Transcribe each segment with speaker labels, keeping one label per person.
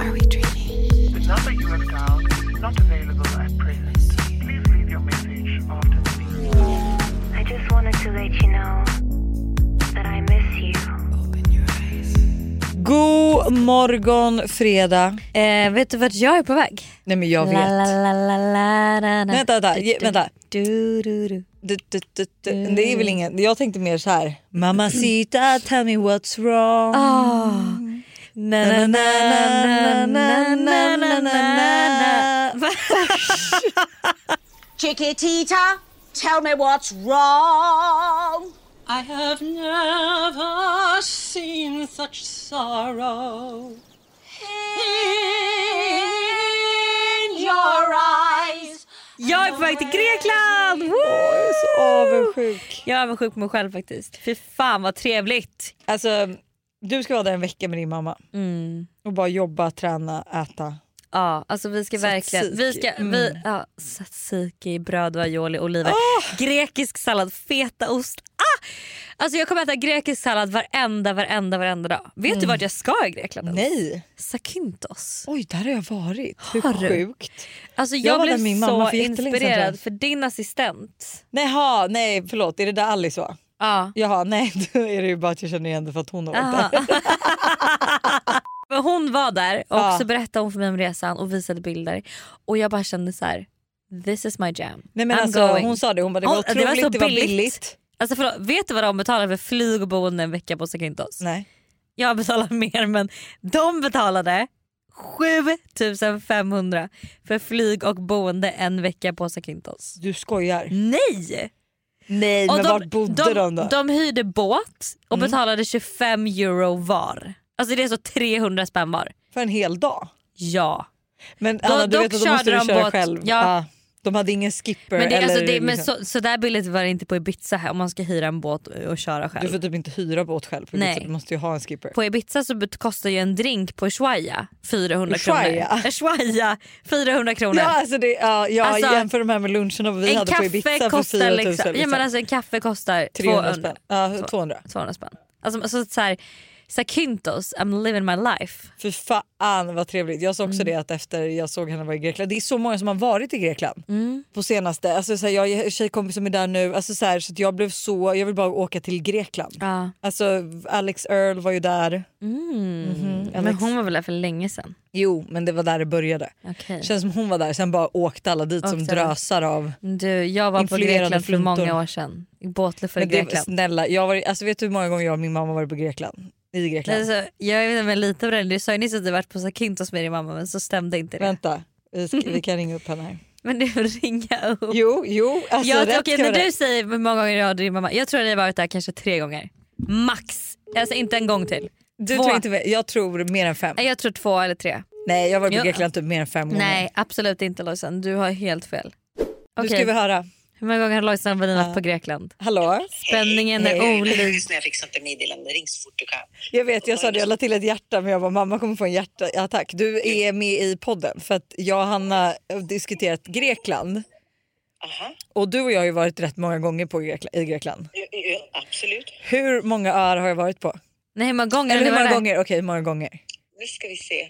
Speaker 1: Are we dreaming?
Speaker 2: The number you have dialed is not available at present. Please leave your message after the beep.
Speaker 1: I just wanted to let you know that I miss you. Open your eyes.
Speaker 3: God morgon fredag.
Speaker 4: Eh, vet du vart jag är på väg?
Speaker 3: Nej men jag vet.
Speaker 4: La, la, la, la, la, la, la.
Speaker 3: Vänta, vänta,
Speaker 4: Du,
Speaker 3: ge-
Speaker 4: du,
Speaker 3: vänta.
Speaker 4: Du, du, du.
Speaker 3: Du, du, du, du. Det är väl ingen, jag tänkte mer så här. Mamacita tell me what's wrong.
Speaker 4: Ah. Na, na, na, na, na, na, na, na, na. Va?
Speaker 5: Chiquitita, tell me what's wrong.
Speaker 6: I have never seen such sorrow in your eyes.
Speaker 4: Jag är på väg till Grekland! Woo!
Speaker 3: Avundsjuk.
Speaker 4: Jag är avundsjuk på mig själv faktiskt. Fy fan vad trevligt.
Speaker 3: Alltså du ska vara där en vecka med din mamma
Speaker 4: Mm.
Speaker 3: och bara jobba, träna, äta.
Speaker 4: Ja, alltså vi ska verkligen... Vi ska,
Speaker 3: Tzatziki.
Speaker 4: vi, ja, tzatziki, bröd, aioli, oliver. Grekisk sallad, fetaost. Ah! Alltså jag kommer äta grekisk sallad varenda, varenda, varenda dag. Vet du vart jag ska i Grekland? ens?
Speaker 3: Mm. Nej.
Speaker 4: Sakintos.
Speaker 3: Oj där har jag varit. Hur
Speaker 4: Har du?
Speaker 3: sjukt.
Speaker 4: Alltså jag,
Speaker 3: Jag var där
Speaker 4: blev
Speaker 3: med min mamma
Speaker 4: så
Speaker 3: för jättelänge sedan, tror
Speaker 4: inspirerad
Speaker 3: jag.
Speaker 4: för din assistent.
Speaker 3: Nej, ha, nej förlåt är det där Alice var?
Speaker 4: Ja.
Speaker 3: Jaha nej då är det ju bara att jag känner igen det för att hon har varit
Speaker 4: Aha.
Speaker 3: där.
Speaker 4: Ah. Men hon var där och
Speaker 3: Ja.
Speaker 4: så berättade hon för mig om resan och visade bilder och jag bara kände så här: this is my jam.
Speaker 3: Nej, men
Speaker 4: I'm
Speaker 3: alltså,
Speaker 4: going.
Speaker 3: hon sa det, hon bara, det var
Speaker 4: Hon- det var
Speaker 3: otroligt,
Speaker 4: så
Speaker 3: det var
Speaker 4: billigt.
Speaker 3: billigt.
Speaker 4: Alltså förlåt, vet du vad de betalar för flyg och boende en vecka på Sakintos?
Speaker 3: Nej.
Speaker 4: Jag betalar mer men de betalade 7500 för flyg och boende en vecka på Sakintos.
Speaker 3: Du skojar.
Speaker 4: Mm. Nej!
Speaker 3: Nej men
Speaker 4: Och de,
Speaker 3: vart bodde de, då? Mm.
Speaker 4: De hyrde båt och betalade 25 euro var. Alltså det är så 300 spänn var.
Speaker 3: För en hel dag?
Speaker 4: Ja.
Speaker 3: Men Anna du
Speaker 4: dock
Speaker 3: vet att då måste
Speaker 4: körde
Speaker 3: du
Speaker 4: de
Speaker 3: köra
Speaker 4: båt,
Speaker 3: själv.
Speaker 4: ja.
Speaker 3: de hade ingen skipper
Speaker 4: Men, det,
Speaker 3: eller
Speaker 4: alltså det, men
Speaker 3: liksom.
Speaker 4: så, så där billigt var det inte på Ibiza här, om man ska hyra en båt och, och köra
Speaker 3: Du
Speaker 4: själv.
Speaker 3: får typ inte hyra båt själv för
Speaker 4: Nej.
Speaker 3: Nej. du måste ju ha en skipper.
Speaker 4: På Ibiza så bet- kostar ju en drink på Ushuaia 400
Speaker 3: Ushuaia?
Speaker 4: kronor. Ushuaia 400 kronor.
Speaker 3: Ja, alltså det, ja, jag
Speaker 4: Alltså,
Speaker 3: jämför de här med luncherna vi
Speaker 4: en
Speaker 3: hade på
Speaker 4: kaffe
Speaker 3: Ibiza för 4
Speaker 4: kostar
Speaker 3: 000.
Speaker 4: liksom,
Speaker 3: Liksom,
Speaker 4: ja, men alltså, en kaffe kostar
Speaker 3: 300
Speaker 4: 200,
Speaker 3: spänn. Ja, 200.
Speaker 4: 200 spänn. Alltså, alltså, så här, Sakintos, I'm living my life.
Speaker 3: Fy fan vad trevligt. Jag sa också det att efter jag såg henne vara i Grekland. Det är så många som har varit i Grekland på senaste. Alltså, så här, jag har tjejkompis som är där nu. Alltså, så här, så att jag blev så, jag vill bara åka till Grekland.
Speaker 4: Ja.
Speaker 3: Alltså Alex Earl var ju där.
Speaker 4: Men hon var väl där för länge sedan?
Speaker 3: Jo men det var där det började.
Speaker 4: Okej.
Speaker 3: Känns som hon var där sen bara åkte alla dit som
Speaker 4: Åkte.
Speaker 3: drösar av.
Speaker 4: Du, jag var på
Speaker 3: Influerade
Speaker 4: Grekland för
Speaker 3: flintor.
Speaker 4: många år sedan. I Båtluffar i
Speaker 3: Men det,
Speaker 4: Grekland.
Speaker 3: snälla, jag var, alltså, vet du hur många gånger jag och min mamma varit på Grekland? I Grekland.
Speaker 4: Alltså, jag vet inte om jag litar på det. Du sa ju nyss att du varit på Sakintos med din mamma men så stämde inte det.
Speaker 3: Vänta vi, ska, vi kan ringa upp henne här.
Speaker 4: Men du får ringa upp.
Speaker 3: Jo jo. Alltså,
Speaker 4: jag,
Speaker 3: rätt
Speaker 4: okej,
Speaker 3: ska
Speaker 4: när
Speaker 3: vara
Speaker 4: du
Speaker 3: rätt.
Speaker 4: säger hur många gånger jag har din mamma. Jag tror att ni har varit där kanske tre gånger. Max. Alltså inte en gång till.
Speaker 3: du
Speaker 4: Två.
Speaker 3: tror inte, jag tror mer än fem.
Speaker 4: Nej, Jag tror två eller tre.
Speaker 3: Nej jag har varit
Speaker 4: Jo.
Speaker 3: på Grekland typ mer än fem gånger.
Speaker 4: Nej absolut inte Lojsan. Du har helt fel.
Speaker 3: Nu
Speaker 4: Okej,
Speaker 3: ska vi höra.
Speaker 4: Hur många gånger har Lojsan Wallin varit på Grekland?
Speaker 3: Hallå?
Speaker 4: Spänningen är
Speaker 3: Hej.
Speaker 4: olik.
Speaker 7: när jag fick sånt där meddelande. Ring så fort du kan.
Speaker 3: Jag vet, jag sa det, jag la till ett hjärta men jag bara mamma kommer få en hjärtattack. Du är med i podden för att jag och Hanna har diskuterat Grekland.
Speaker 7: Aha,
Speaker 3: Och du och jag har ju varit rätt många gånger på Grekland, i Grekland.
Speaker 7: ja, ja, absolut.
Speaker 3: Hur många öar har jag varit på?
Speaker 4: Nej hur många gånger har
Speaker 3: Eller
Speaker 4: ni
Speaker 3: hur
Speaker 4: varit
Speaker 3: många
Speaker 4: där?
Speaker 3: gånger? Okej, hur många gånger?
Speaker 7: Nu ska vi se.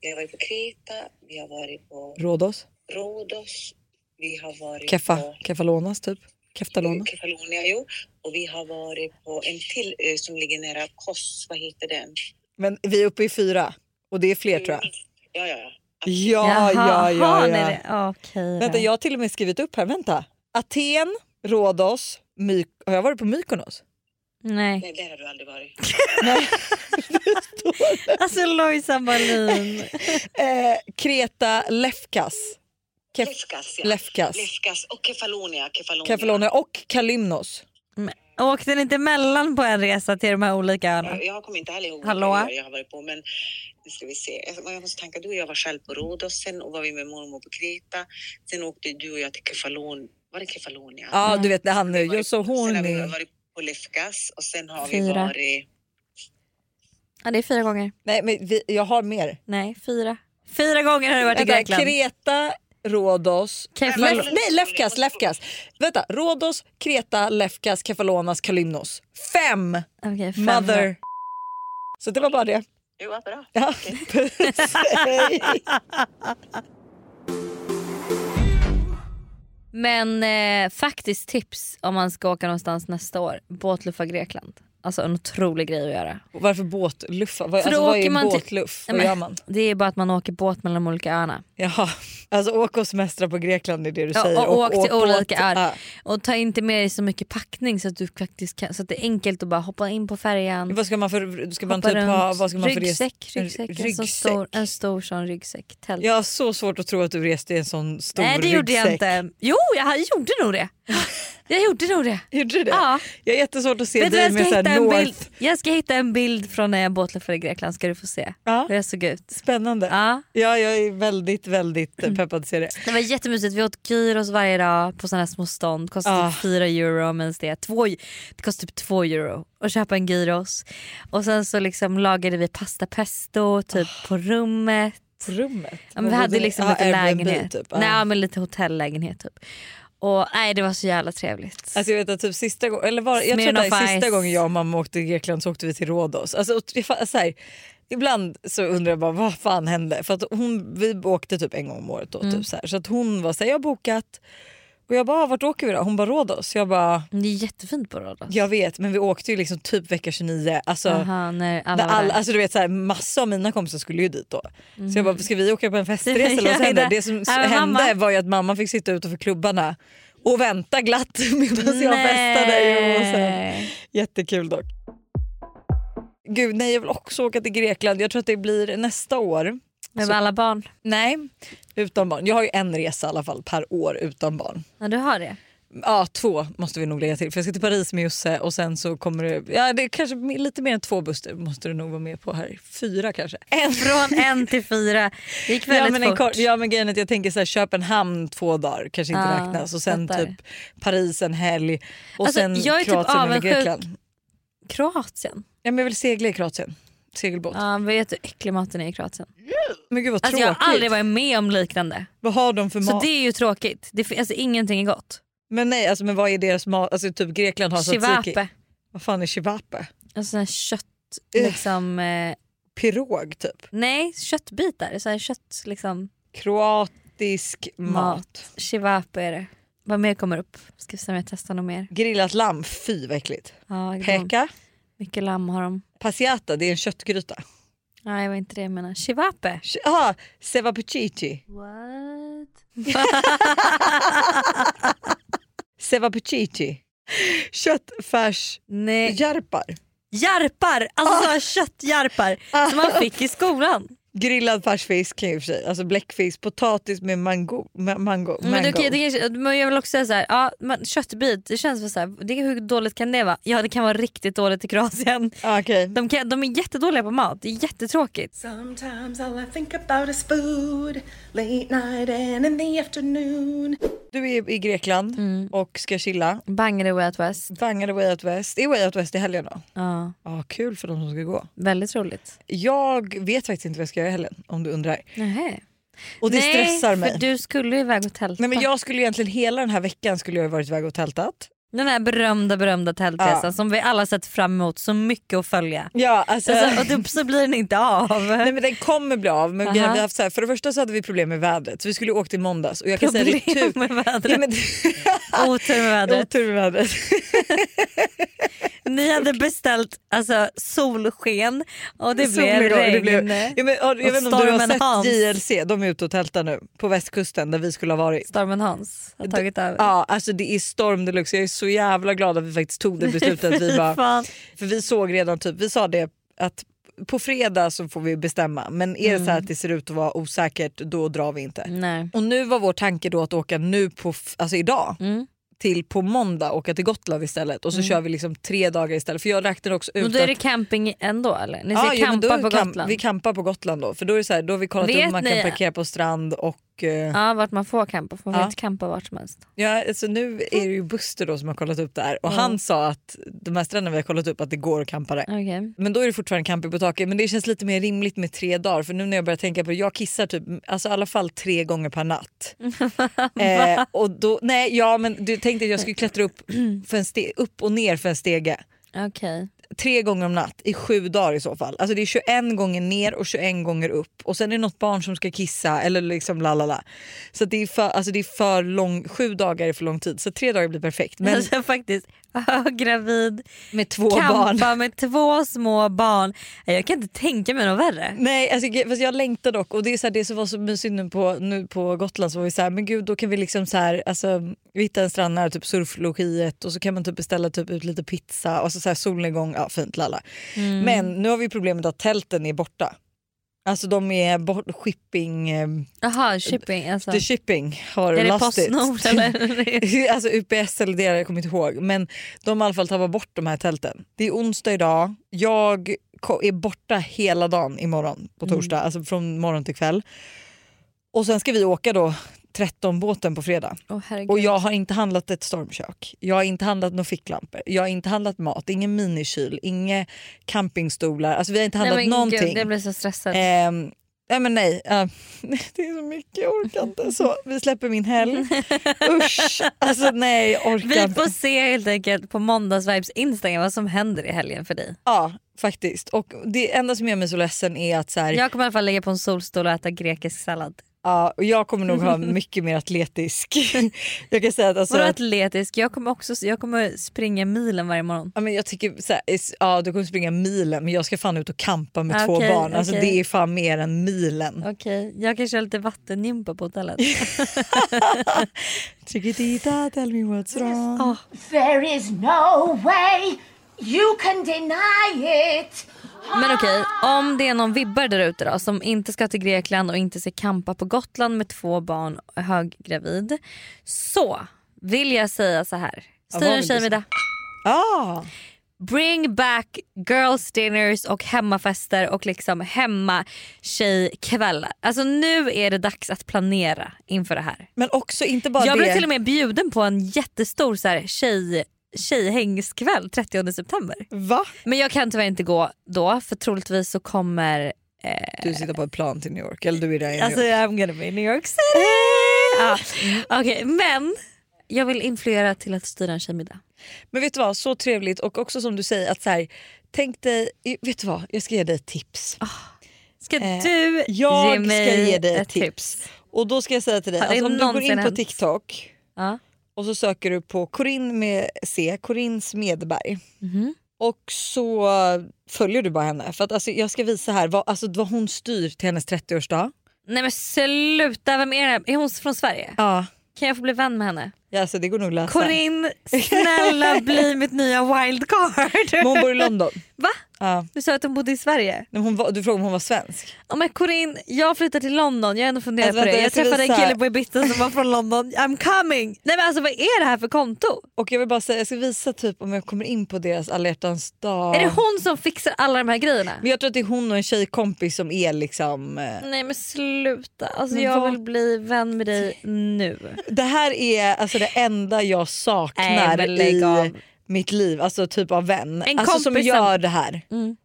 Speaker 7: Vi har varit på Kreta, vi har varit på
Speaker 3: Rhodos?
Speaker 7: Rhodos, vi har varit
Speaker 3: Kefa,
Speaker 7: på
Speaker 3: Kefalonas typ?
Speaker 7: Mm.
Speaker 3: Keftalona?
Speaker 7: Kefalonia, jo. Och vi har varit på en till ö som ligger nära Kos. Vad heter den?
Speaker 3: Men vi är uppe i fyra och det är fler tror jag.
Speaker 7: Ja, ja, ja.
Speaker 3: Ja, ja, ja.
Speaker 4: har ni
Speaker 3: ja.
Speaker 4: det? Ja, Okej
Speaker 3: Vänta,
Speaker 4: då.
Speaker 3: jag har till och med skrivit upp här. Vänta. Aten, Rhodos, My- har jag varit på Mykonos?
Speaker 4: Nej.
Speaker 7: Nej, där har du aldrig varit.
Speaker 4: Alltså Lojsan Wallin.
Speaker 3: Eh, Kreta, Lefkas. Kef-
Speaker 7: Lefkas, ja.
Speaker 3: Lefkas.
Speaker 7: Lefkas och Kefalonia. Kefalonia.
Speaker 3: Kefalonia och Kalymnos.
Speaker 4: Åkte ni inte mellan på en resa till de här olika öarna?
Speaker 3: Eh.
Speaker 7: Ja, Jag kommer inte heller ihåg
Speaker 4: Hallå?
Speaker 7: vad jag har varit på, men nu ska vi se. Alltså, Jag måste tänka, du och jag var själv på Rhodos, sen var vi med mormor på Kreta, sen åkte du och jag till Kefalon. Var det Kefalonia?
Speaker 4: Mm.
Speaker 3: Ja, du vet det han nu.
Speaker 7: Sen
Speaker 3: Jag så
Speaker 7: har
Speaker 3: horny.
Speaker 7: vi varit på Lefkas och sen har vi
Speaker 4: Fyra.
Speaker 7: varit...
Speaker 4: Ja, det är fyra gånger.
Speaker 3: Nej, men vi, jag har mer.
Speaker 4: Nej, fyra. Fyra gånger har du varit i
Speaker 3: Vänta,
Speaker 4: Grekland.
Speaker 3: Kreta, Rhodos,
Speaker 4: Kefalo-
Speaker 3: Lef, nej Lefkas, Lefkas. Vänta, Rhodos, Kreta, Lefkas, Kefalonas, Kalymnos. Fem!
Speaker 4: Okej, fem.
Speaker 3: Mother. Så det var bara det.
Speaker 7: Jo, vad bra.
Speaker 3: Ja. Puss, hej.
Speaker 4: Men eh, faktiskt tips om man ska åka någonstans nästa år. Båtluffa Grekland. Alltså en otrolig grej att göra.
Speaker 3: Varför båtluffa? Vad,
Speaker 4: För
Speaker 3: alltså,
Speaker 4: då
Speaker 3: vad är
Speaker 4: åker man till-
Speaker 3: båtluff?
Speaker 4: Nej,
Speaker 3: Vad
Speaker 4: men
Speaker 3: gör man?
Speaker 4: Det är bara att man åker båt mellan de olika öarna.
Speaker 3: Jaha. Alltså åk och semestra på Grekland är det du
Speaker 4: Ja,
Speaker 3: säger.
Speaker 4: och åk till
Speaker 3: båt.
Speaker 4: olika öar.
Speaker 3: Ja.
Speaker 4: Och ta inte med dig så mycket packning så att, du faktiskt kan, så att det är enkelt att bara hoppa in på färjan.
Speaker 3: Vad ska man för, ska man
Speaker 4: hoppa
Speaker 3: typ ha,
Speaker 4: runt.
Speaker 3: vad ska man för res-
Speaker 4: ryggsäck, ryggsäck, En, sån stor, en stor sån ryggsäck. Tält.
Speaker 3: Jag har så svårt att tro att du reste i en sån stor
Speaker 4: Nej det
Speaker 3: ryggsäck.
Speaker 4: gjorde jag inte. Jo jag gjorde nog det. Jag gjorde nog det.
Speaker 3: Gjorde du det?
Speaker 4: Ja.
Speaker 3: Jag är jättesvårt att se
Speaker 4: Vet du,
Speaker 3: dig
Speaker 4: jag,
Speaker 3: med
Speaker 4: ska hitta
Speaker 3: såhär
Speaker 4: en
Speaker 3: North.
Speaker 4: bild, jag ska hitta en bild från när jag båtluffade i Grekland ska du få se
Speaker 3: Ja.
Speaker 4: hur jag såg ut.
Speaker 3: Spännande.
Speaker 4: Ja. Mm.
Speaker 3: Ja, jag är väldigt, väldigt eh, peppad att se det.
Speaker 4: Det var jättemysigt, vi åt gyros varje dag på sådana här små stånd. Kostade
Speaker 3: Ah.
Speaker 4: typ 4 euro men det, är två, det kostade typ 2 euro att köpa en gyros. Och sen så liksom lagade vi pasta pesto typ på rummet.
Speaker 3: Rummet?
Speaker 4: Ja, men
Speaker 3: Ah.
Speaker 4: vi
Speaker 3: Vad
Speaker 4: hade
Speaker 3: bodde ni-
Speaker 4: liksom
Speaker 3: Ja,
Speaker 4: lite
Speaker 3: Airbnb
Speaker 4: lägenhet.
Speaker 3: Typ. Ja.
Speaker 4: Nej, ja, men lite hotellägenhet typ. Och nej det var så jävla trevligt.
Speaker 3: Alltså jag vet att typ sista gången, eller var, jag tror
Speaker 4: Smirnoff
Speaker 3: att det är sista
Speaker 4: Ice.
Speaker 3: gången jag och mamma åkte till Grekland så åkte vi till Rhodos. Alltså, och träffa, så här, ibland så undrar jag bara vad fan hände? För att hon, vi åkte typ en gång om året då,
Speaker 4: Mm.
Speaker 3: typ så, här, så att hon var såhär, jag har bokat och jag bara, "Ah, vart åker vi då? Hon bara Rhodos. Jag bara,
Speaker 4: Men det är jättefint på Rhodos.
Speaker 3: jag vet men vi åkte ju liksom typ vecka 29. Alltså,
Speaker 4: Aha, när alla
Speaker 3: När
Speaker 4: var
Speaker 3: all,
Speaker 4: där.
Speaker 3: alltså du vet, så här, massa av mina kompisar skulle ju dit då. Så jag bara, ska vi åka på en festresa eller vad som
Speaker 4: Mm. Ja,
Speaker 3: händer?
Speaker 4: det-
Speaker 3: Det som
Speaker 4: Ja, men
Speaker 3: hände
Speaker 4: mamma-
Speaker 3: var ju att mamma fick sitta utanför klubbarna och vänta glatt medan jag festade. Jo, och så.
Speaker 4: Nej.
Speaker 3: Jättekul dock. Gud nej jag vill också åka till Grekland. Jag tror att det blir nästa år.
Speaker 4: Med alla barn.
Speaker 3: Nej, utan barn. Jag har ju en resa i alla fall per år utan barn.
Speaker 4: Ja, du har det.
Speaker 3: Ja, två måste vi nog lägga till. För jag ska till Paris med Josse och sen så kommer det... Ja, det är kanske lite mer än två buster måste du nog vara med på här. Fyra kanske. En
Speaker 4: Från en till fyra. Det gick väldigt
Speaker 3: ja, men en
Speaker 4: fort.
Speaker 3: kort, ja men grejen är att jag tänker så här, Köpenhamn två dagar kanske inte
Speaker 4: Ah,
Speaker 3: räknas och sen
Speaker 4: fattar.
Speaker 3: typ Paris en helg och
Speaker 4: Alltså,
Speaker 3: sen
Speaker 4: jag är typ
Speaker 3: Kroatien eller
Speaker 4: avundsjuk.
Speaker 3: Grekland.
Speaker 4: Kroatien.
Speaker 3: Ja, men jag vill segla i Kroatien. Segelbåt.
Speaker 4: Ja, vet du hur äcklig maten är i Kroatien?
Speaker 3: Men gud vad
Speaker 4: Alltså,
Speaker 3: tråkigt.
Speaker 4: jag har aldrig varit med om liknande.
Speaker 3: Vad har de för
Speaker 4: Så
Speaker 3: mat?
Speaker 4: det är ju tråkigt. Det, fin- alltså, ingenting är gott.
Speaker 3: Men nej alltså men vad är deras mat? Alltså typ Grekland har tzatziki.
Speaker 4: Chivape.
Speaker 3: Vad fan är chivape?
Speaker 4: Alltså sån här kött...
Speaker 3: Ugh.
Speaker 4: Liksom, eh,
Speaker 3: Pirog typ.
Speaker 4: nej, köttbitar. Så här kött, liksom,
Speaker 3: Kroatisk mat.
Speaker 4: mat. Chivape är det. Vad mer kommer upp? Ska vi se om jag testar något mer.
Speaker 3: Grillat lamm, fy vad äckligt.
Speaker 4: Ja, det är gott.
Speaker 3: Peka.
Speaker 4: Mycket lamm har de.
Speaker 3: Pasiata, det är en köttgryta.
Speaker 4: Nej, det var inte det jag menade. Chivape.
Speaker 3: Ah, sevapucici. Sevapucici. Köttfärs
Speaker 4: Nej.
Speaker 3: järpar.
Speaker 4: Järpar!
Speaker 3: Ah.
Speaker 4: Alltså så här köttjärpar som man fick i skolan.
Speaker 3: Grillad färsfisk kan jag i och för sig, alltså bläckfisk, potatis med mango. Ma- mango,
Speaker 4: Mm, Men, det,
Speaker 3: mango.
Speaker 4: okay, det kanske, men jag vill också säga så här, ja, men köttbit, det känns väl så här, det, hur dåligt kan det vara? Ja det kan vara riktigt dåligt i Kroatien.
Speaker 3: Ah, okej.
Speaker 4: De, kan, de är jättedåliga på mat, det är jättetråkigt.
Speaker 6: Sometimes all I think about is food, late night and in the afternoon.
Speaker 3: Du är i Grekland
Speaker 4: Mm.
Speaker 3: och ska chilla.
Speaker 4: Bangare way out west.
Speaker 3: Bangade Way Out West. Är Way Out West i helgen då?
Speaker 4: Ja,
Speaker 3: Ah, kul för de som ska gå.
Speaker 4: väldigt roligt.
Speaker 3: Jag vet faktiskt inte vad jag ska göra i helgen om du undrar.
Speaker 4: Nähä.
Speaker 3: Och det
Speaker 4: Nej,
Speaker 3: stressar mig.
Speaker 4: för du skulle ju iväg och tälta.
Speaker 3: Nej, men jag skulle egentligen hela den här veckan skulle jag ha varit iväg och tältat.
Speaker 4: Den här berömda berömda tältresan som vi alla sett fram emot så mycket att följa.
Speaker 3: Ja, alltså,
Speaker 4: Alltså, och då, så blir den inte av.
Speaker 3: Nej men den kommer bli av. Men vi
Speaker 4: Aha.
Speaker 3: hade haft så här, för det första så hade vi problem med vädret så vi skulle åka till måndags och jag kan
Speaker 4: Problem
Speaker 3: säga det är tur.
Speaker 4: med vädret.
Speaker 3: Ja, men,
Speaker 4: Otur med vädret.
Speaker 3: otur med vädret.
Speaker 4: Ni hade beställt alltså, solsken och det blev
Speaker 3: Solidag,
Speaker 4: regn.
Speaker 3: det blev- ja, men, ja, jag
Speaker 4: Och
Speaker 3: vet inte om du har
Speaker 4: stormen
Speaker 3: sett
Speaker 4: Hans.
Speaker 3: JLC, de är ute och tältar nu på västkusten där vi skulle ha varit.
Speaker 4: Stormen Hans har tagit över.
Speaker 3: Ja, alltså det är storm deluxe. Jag är så jävla glad att vi faktiskt tog det beslutet. att vi
Speaker 4: Fy
Speaker 3: bara,
Speaker 4: fan.
Speaker 3: För vi såg redan typ, vi sa det att på fredag så får vi bestämma men är det så
Speaker 4: Mm.
Speaker 3: här att det ser ut att vara osäkert då drar vi inte.
Speaker 4: Nej.
Speaker 3: Och nu var vår tanke då att åka nu på, f- alltså idag
Speaker 4: Mm.
Speaker 3: till på måndag åka till Gotland istället och så kör vi liksom tre dagar istället för jag räknade också ut
Speaker 4: Och Mm. då är det
Speaker 3: att
Speaker 4: camping ändå eller? Ni ska
Speaker 3: Ja, jo, men
Speaker 4: campa
Speaker 3: då
Speaker 4: på
Speaker 3: kamp-
Speaker 4: Gotland?
Speaker 3: Vi kampar på Gotland då för då är det så här, då har vi kollat
Speaker 4: Vet
Speaker 3: om man
Speaker 4: ni-
Speaker 3: kan parkera på strand och och... eh,
Speaker 4: Ja, vart man får campa. för Man får
Speaker 3: Ja.
Speaker 4: inte campa vart som helst.
Speaker 3: Ja, alltså nu är det ju Buster då som har kollat upp det här och han sa att de här stränderna vi har kollat upp att det går att campa där.
Speaker 4: Okej.
Speaker 3: Men då är det fortfarande camping på taket. Men det känns lite mer rimligt med tre dagar. För nu när jag börjar tänka på det, jag kissar typ alltså i alla fall tre gånger per natt. eh, och då, nej, ja, men du tänkte att jag skulle klättra upp, för en ste- upp och ner för en stege.
Speaker 4: Okej.
Speaker 3: Tre gånger om natt i sju dagar i så fall. Alltså det är 21 gånger ner och 21 gånger upp. Och sen är det något barn som ska kissa eller liksom la la la. Så att det är för, alltså det är för lång, sju dagar är för lång tid. Så tre dagar blir perfekt. Men
Speaker 4: Alltså faktiskt, gravid,
Speaker 3: med två barn.
Speaker 4: campa med två små barn. Nej, Jag kan inte tänka mig något värre.
Speaker 3: Nej, alltså, ge- fast jag längtar dock. Och Det är så här, det som var så mysigt nu på, nu på Gotland så var vi så här, men gud då kan vi liksom så här, alltså, vi hittar en strand nära typ surflogiet och så kan man typ beställa typ ut lite pizza och så, så här, solnedgång, ja fint lalla.
Speaker 4: Mm.
Speaker 3: Men nu har vi problemet att tälten är borta. Alltså de är bort, shipping, eh,
Speaker 4: Jaha, shipping alltså.
Speaker 3: the shipping har
Speaker 4: Är det
Speaker 3: lost it.
Speaker 4: Postnord eller?
Speaker 3: alltså UPS eller det, jag kommer inte ihåg. Men de har i alla fall tappat bort de här tälten. Det är onsdag idag, jag ko- är borta hela dagen imorgon
Speaker 4: Mm.
Speaker 3: på torsdag, alltså från morgon till kväll. Och sen ska vi åka då 13-båten på fredag.
Speaker 4: Åh, herregud.
Speaker 3: Och jag har inte handlat ett stormkök, jag har inte handlat några ficklampor, jag har inte handlat mat, ingen minikyl, inga campingstolar, alltså vi har inte handlat
Speaker 4: Nej, men
Speaker 3: någonting.
Speaker 4: Gud, jag Eh, blir så stressad.
Speaker 3: Ehm, nej men nej, eh, det är så mycket, jag orkar inte. Så, vi släpper min helg. Usch, alltså nej jag orkar
Speaker 4: Vi
Speaker 3: inte.
Speaker 4: får se helt enkelt på Måndagsvibes Instagram vad som händer i helgen för dig.
Speaker 3: Ja faktiskt, och det enda som gör mig så ledsen är att så här,
Speaker 4: Jag kommer i alla fall ligga på en solstol och äta grekisk sallad.
Speaker 3: ja, och jag kommer nog ha mycket mer atletisk. jag kan säga att alltså,
Speaker 4: Vadå atletisk? Jag kommer, också, jag kommer springa milen varje morgon.
Speaker 3: Ja, men jag tycker så här, is- ja, du kommer springa milen men jag ska fan ut och kampa med
Speaker 4: Ah,
Speaker 3: två
Speaker 4: okej,
Speaker 3: barn. Alltså,
Speaker 4: okej.
Speaker 3: Det är fan mer än milen.
Speaker 4: Okej, jag kanske har lite vattengympa på hotellet.
Speaker 3: Chiquitita, tell me what's wrong.
Speaker 5: There is no way you can deny it.
Speaker 4: Men okej, om det är någon vibbar där ute då som inte ska till Grekland och inte ska campa på Gotland med två barn och höggravid. Så vill jag säga så här.
Speaker 3: Ja,
Speaker 4: Styr
Speaker 3: vad
Speaker 4: en
Speaker 3: vill
Speaker 4: tjej
Speaker 3: du
Speaker 4: med det.
Speaker 3: Ah,
Speaker 4: Bring back girls dinners och hemmafester och liksom hemma tjejkvällar. Alltså nu är det dags att planera inför det här.
Speaker 3: men också inte bara
Speaker 4: jag
Speaker 3: det.
Speaker 4: blev till och med bjuden på en jättestor så här, tjej, tjejhängskväll 30 september.
Speaker 3: Va?
Speaker 4: Men jag kan tyvärr inte gå då för troligtvis så kommer...
Speaker 3: Du sitter på ett plan till New York, eller du är där i New
Speaker 4: Alltså
Speaker 3: York.
Speaker 4: I'm gonna be in New York City! Eh, Ja. Okej men jag vill influera till att styra en tjejmiddag.
Speaker 3: Men vet du vad, så trevligt och också som du säger att så här, tänk dig, vet du vad, jag ska ge dig ett tips.
Speaker 4: Ah. Ska
Speaker 3: Eh,
Speaker 4: du
Speaker 3: jag
Speaker 4: ge mig
Speaker 3: ska ge dig
Speaker 4: ett tips?
Speaker 3: Och då ska jag säga till dig,
Speaker 4: Har det
Speaker 3: alltså, om du går
Speaker 4: någonsin
Speaker 3: in på
Speaker 4: hänt?
Speaker 3: TikTok
Speaker 4: Ja.
Speaker 3: och så söker du på Corinne med C, Corinne Smedberg.
Speaker 4: Mhm.
Speaker 3: Och så följer du bara henne. För att, alltså, jag ska visa här vad, alltså, vad hon styr till hennes 30-årsdag.
Speaker 4: Nej men sluta, vem är det? här? Är hon från Sverige?
Speaker 3: Ja.
Speaker 4: Kan jag få bli vän med henne?
Speaker 3: Ja, alltså, det går nog att läsa.
Speaker 4: Corinne, snälla bli mitt nya
Speaker 3: Men
Speaker 4: wildcard!
Speaker 3: hon bor i London.
Speaker 4: Va?
Speaker 3: Ja.
Speaker 4: Du sa att hon bodde i Sverige?
Speaker 3: Men Hon var, du frågade om hon var svensk.
Speaker 4: Ja, men Corinne, jag flyttar till London, jag har ändå funderat
Speaker 3: Alltså,
Speaker 4: på det.
Speaker 3: vänta, jag
Speaker 4: Jag,
Speaker 3: ska
Speaker 4: träffade en
Speaker 3: visa.
Speaker 4: kille på Ibiza som var från London, I'm coming! Nej men alltså vad är det här för konto?
Speaker 3: Och jag vill bara säga, jag ska visa typ om jag kommer in på deras alla hjärtans dag.
Speaker 4: Är det hon som fixar alla de här grejerna?
Speaker 3: Men jag tror att det är hon och en tjejkompis som är liksom... eh,
Speaker 4: Nej men sluta, alltså,
Speaker 3: Men
Speaker 4: jag
Speaker 3: vad-
Speaker 4: vill bli vän med dig nu.
Speaker 3: Det här är alltså det enda jag
Speaker 4: Nej,
Speaker 3: saknar
Speaker 4: men lägg
Speaker 3: i
Speaker 4: av.
Speaker 3: mitt liv, alltså typ av vän.
Speaker 4: En
Speaker 3: alltså som
Speaker 4: kompis som- Mm.
Speaker 3: gör det här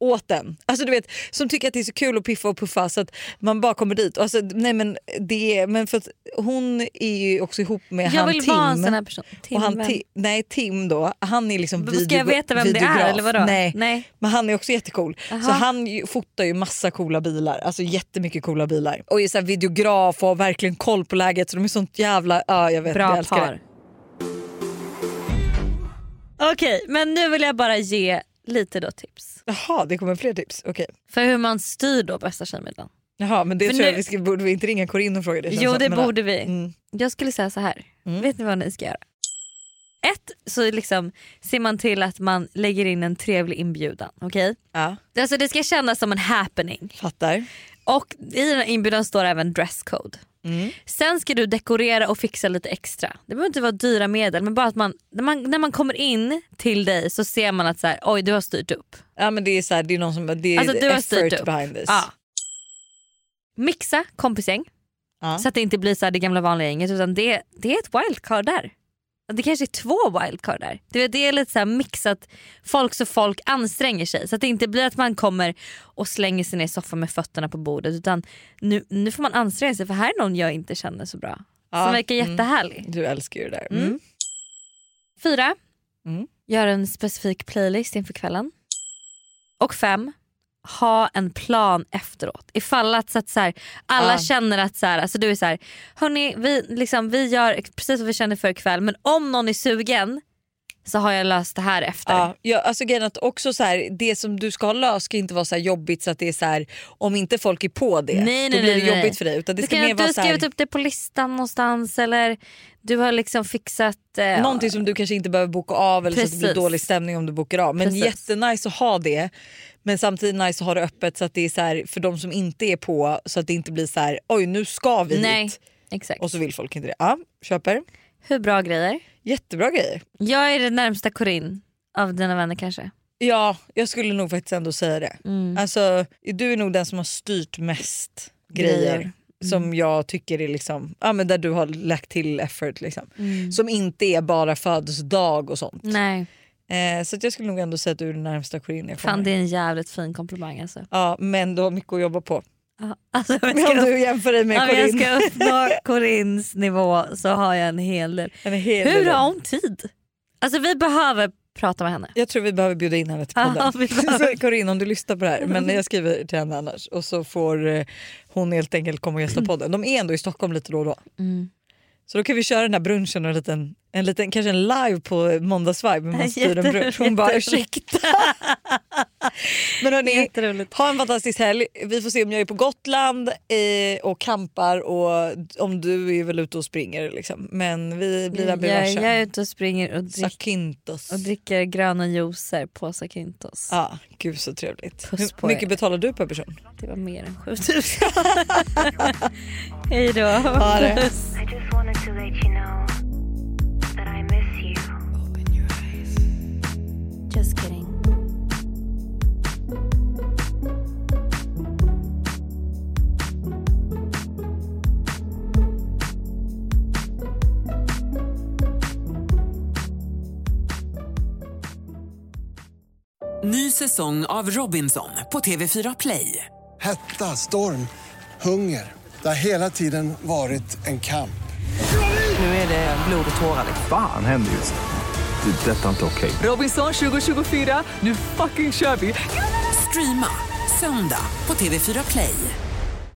Speaker 3: åt en. Alltså du vet, som tycker att det är så kul att piffa och puffa så att man bara kommer dit. Alltså, nej men det är, men för att hon är ju också ihop med
Speaker 4: Jag
Speaker 3: han
Speaker 4: vill
Speaker 3: Tim.
Speaker 4: vara en sån här person. Tim,
Speaker 3: och han
Speaker 4: vem?
Speaker 3: Ti- nej Tim då, han är liksom
Speaker 4: Ska
Speaker 3: video,
Speaker 4: jag veta vem det är,
Speaker 3: videograf.
Speaker 4: eller vadå?
Speaker 3: Nej.
Speaker 4: Nej.
Speaker 3: Men han är också jättecool. Så
Speaker 4: Aha.
Speaker 3: han ju, fotar ju massa coola bilar, alltså jättemycket coola bilar. Och är så här videograf och har verkligen koll på läget så de är sånt jävla, ja jag vet, jag
Speaker 4: Bra
Speaker 3: älskar det.
Speaker 4: par. Okej, men nu vill jag bara ge lite då tips.
Speaker 3: Jaha, det kommer fler tips. Okej.
Speaker 4: För hur man styr då bästa tjejmiddagen.
Speaker 3: Jaha, men det
Speaker 4: Men
Speaker 3: tror jag
Speaker 4: nu-
Speaker 3: vi ska, borde vi inte ringa Corinne och fråga det. sen
Speaker 4: Jo
Speaker 3: sen,
Speaker 4: det
Speaker 3: men, ja.
Speaker 4: borde vi.
Speaker 3: Mm.
Speaker 4: Jag skulle säga så här. Vet ni vad ni ska göra? Ett, så liksom ser man till att man lägger in en trevlig inbjudan. Okej?
Speaker 3: Ja,
Speaker 4: Alltså det ska kännas som en happening.
Speaker 3: fattar.
Speaker 4: Och i den här inbjudan står även dresscode. Sen ska du dekorera och fixa lite extra. Det behöver inte vara dyra medel men bara att man, när man, när man kommer in till dig så ser man att så här, oj du har styrt upp.
Speaker 3: Ja men det är så här, det är någon som, det är
Speaker 4: Alltså du har styrt
Speaker 3: effort
Speaker 4: upp.
Speaker 3: behind this.
Speaker 4: Ja. Mixa kompisgäng.
Speaker 3: Ja.
Speaker 4: Så att det inte blir så här det gamla vanliga gänget utan det, det är ett wildcard där. Det kanske är två wildcard där. Du vet, det är lite så här mixat folk så folk anstränger sig. Så att det inte blir att man kommer och slänger sig ner i soffan med fötterna på bordet utan nu, nu får man anstränga sig för här är någon jag inte känner så bra.
Speaker 3: Ja,
Speaker 4: Som verkar
Speaker 3: mm.
Speaker 4: jättehärlig.
Speaker 3: Du älskar ju det där.
Speaker 4: Mm. Fyra.
Speaker 3: Mm.
Speaker 4: Gör en specifik playlist inför kvällen. Och fem. Ha en plan efteråt. Ifall att, så att så här, alla
Speaker 3: Ah.
Speaker 4: känner att så här, alltså du är så här, hörni vi, liksom, vi gör precis vad vi känner för ikväll men om någon är sugen så har jag löst det här efter.
Speaker 3: Ja, ja, alltså grejen är att också så här, det som du ska ha löst ska inte vara så här jobbigt så att det är så här, om inte folk är på det
Speaker 4: Nej,
Speaker 3: då
Speaker 4: nej,
Speaker 3: blir
Speaker 4: nej,
Speaker 3: det
Speaker 4: nej.
Speaker 3: jobbigt för dig. Utan det
Speaker 4: Du
Speaker 3: ska
Speaker 4: kan
Speaker 3: mer
Speaker 4: att du
Speaker 3: vara
Speaker 4: har
Speaker 3: så här,
Speaker 4: skrivit upp det på listan någonstans eller du har liksom fixat... Eh,
Speaker 3: någonting som du kanske inte behöver boka av eller så att det
Speaker 4: Precis.
Speaker 3: blir dålig stämning om du bokar av. Men
Speaker 4: Precis.
Speaker 3: jättenice att ha det men samtidigt nice att ha det öppet så att det är så här, för de som inte är på så att det inte blir så här oj nu ska vi
Speaker 4: Nej,
Speaker 3: hit
Speaker 4: exakt.
Speaker 3: och så vill folk inte det. Ja, köper.
Speaker 4: Hur bra grejer.
Speaker 3: Jättebra grejer.
Speaker 4: Jag är den närmsta Corinne av dina vänner kanske.
Speaker 3: Ja, jag skulle nog faktiskt ändå säga det.
Speaker 4: Mm.
Speaker 3: Alltså, du är nog den som har styrt mest grejer,
Speaker 4: Grejer. Mm.
Speaker 3: som jag tycker är liksom, ja, men där du har lagt till effort. Liksom.
Speaker 4: Mm.
Speaker 3: Som inte är bara födelsedag och sånt.
Speaker 4: Nej.
Speaker 3: Eh, så att jag skulle nog ändå säga att du är den närmsta Corinne jag
Speaker 4: Fan
Speaker 3: kommer.
Speaker 4: det är en jävligt fin komplimang alltså.
Speaker 3: Ja, men du har mycket att jobba på.
Speaker 4: Ja, alltså om jag
Speaker 3: Om
Speaker 4: ska,
Speaker 3: du jämför dig med
Speaker 4: om jag
Speaker 3: Corinne.
Speaker 4: ska uppnå Corins nivå så har jag en hel del.
Speaker 3: En hel
Speaker 4: Hur
Speaker 3: del.
Speaker 4: har hon tid? Alltså vi behöver prata med henne.
Speaker 3: Jag tror vi behöver bjuda in henne till
Speaker 4: Ja,
Speaker 3: podden.
Speaker 4: vi behöver.
Speaker 3: Så Corinne om du lyssnar på det här, men jag skriver till henne annars och så får eh, hon helt enkelt komma och gästa
Speaker 4: Mm.
Speaker 3: podden. De är ändå i Stockholm lite då och då. Så då kan vi köra den här brunchen och en liten, en liten kanske en live på måndagsvibe men man styr en brunch. Hon bara ursäkta. men hörni,
Speaker 4: Jätteroligt.
Speaker 3: ha en fantastisk helg. Vi får se om jag är på Gotland eh, och kampar och om du är väl ute och springer liksom. Men vi blir där
Speaker 4: Jag,
Speaker 3: bevarsa.
Speaker 4: jag är ute och springer och, drick,
Speaker 3: Sakintos.
Speaker 4: och dricker gröna juicer på Sakintos.
Speaker 3: Ja, gud så trevligt.
Speaker 4: Puss
Speaker 3: Hur
Speaker 4: på
Speaker 3: mycket
Speaker 4: er.
Speaker 3: betalar du per person?
Speaker 4: Det var mer än 7000. Hej då.
Speaker 3: det.
Speaker 1: I just wanted to let you know that I miss you.
Speaker 4: Just kidding.
Speaker 8: Ny säsong av Robinson på TV4 Play.
Speaker 9: Hetta, storm, hunger. Det har hela tiden varit en kamp.
Speaker 8: Nu är det blod och tårar. liksom.
Speaker 10: Fan händer just det. Det är detta inte okej.
Speaker 8: Robinson 2024, nu fucking kör vi! Streama söndag på TV4 Play.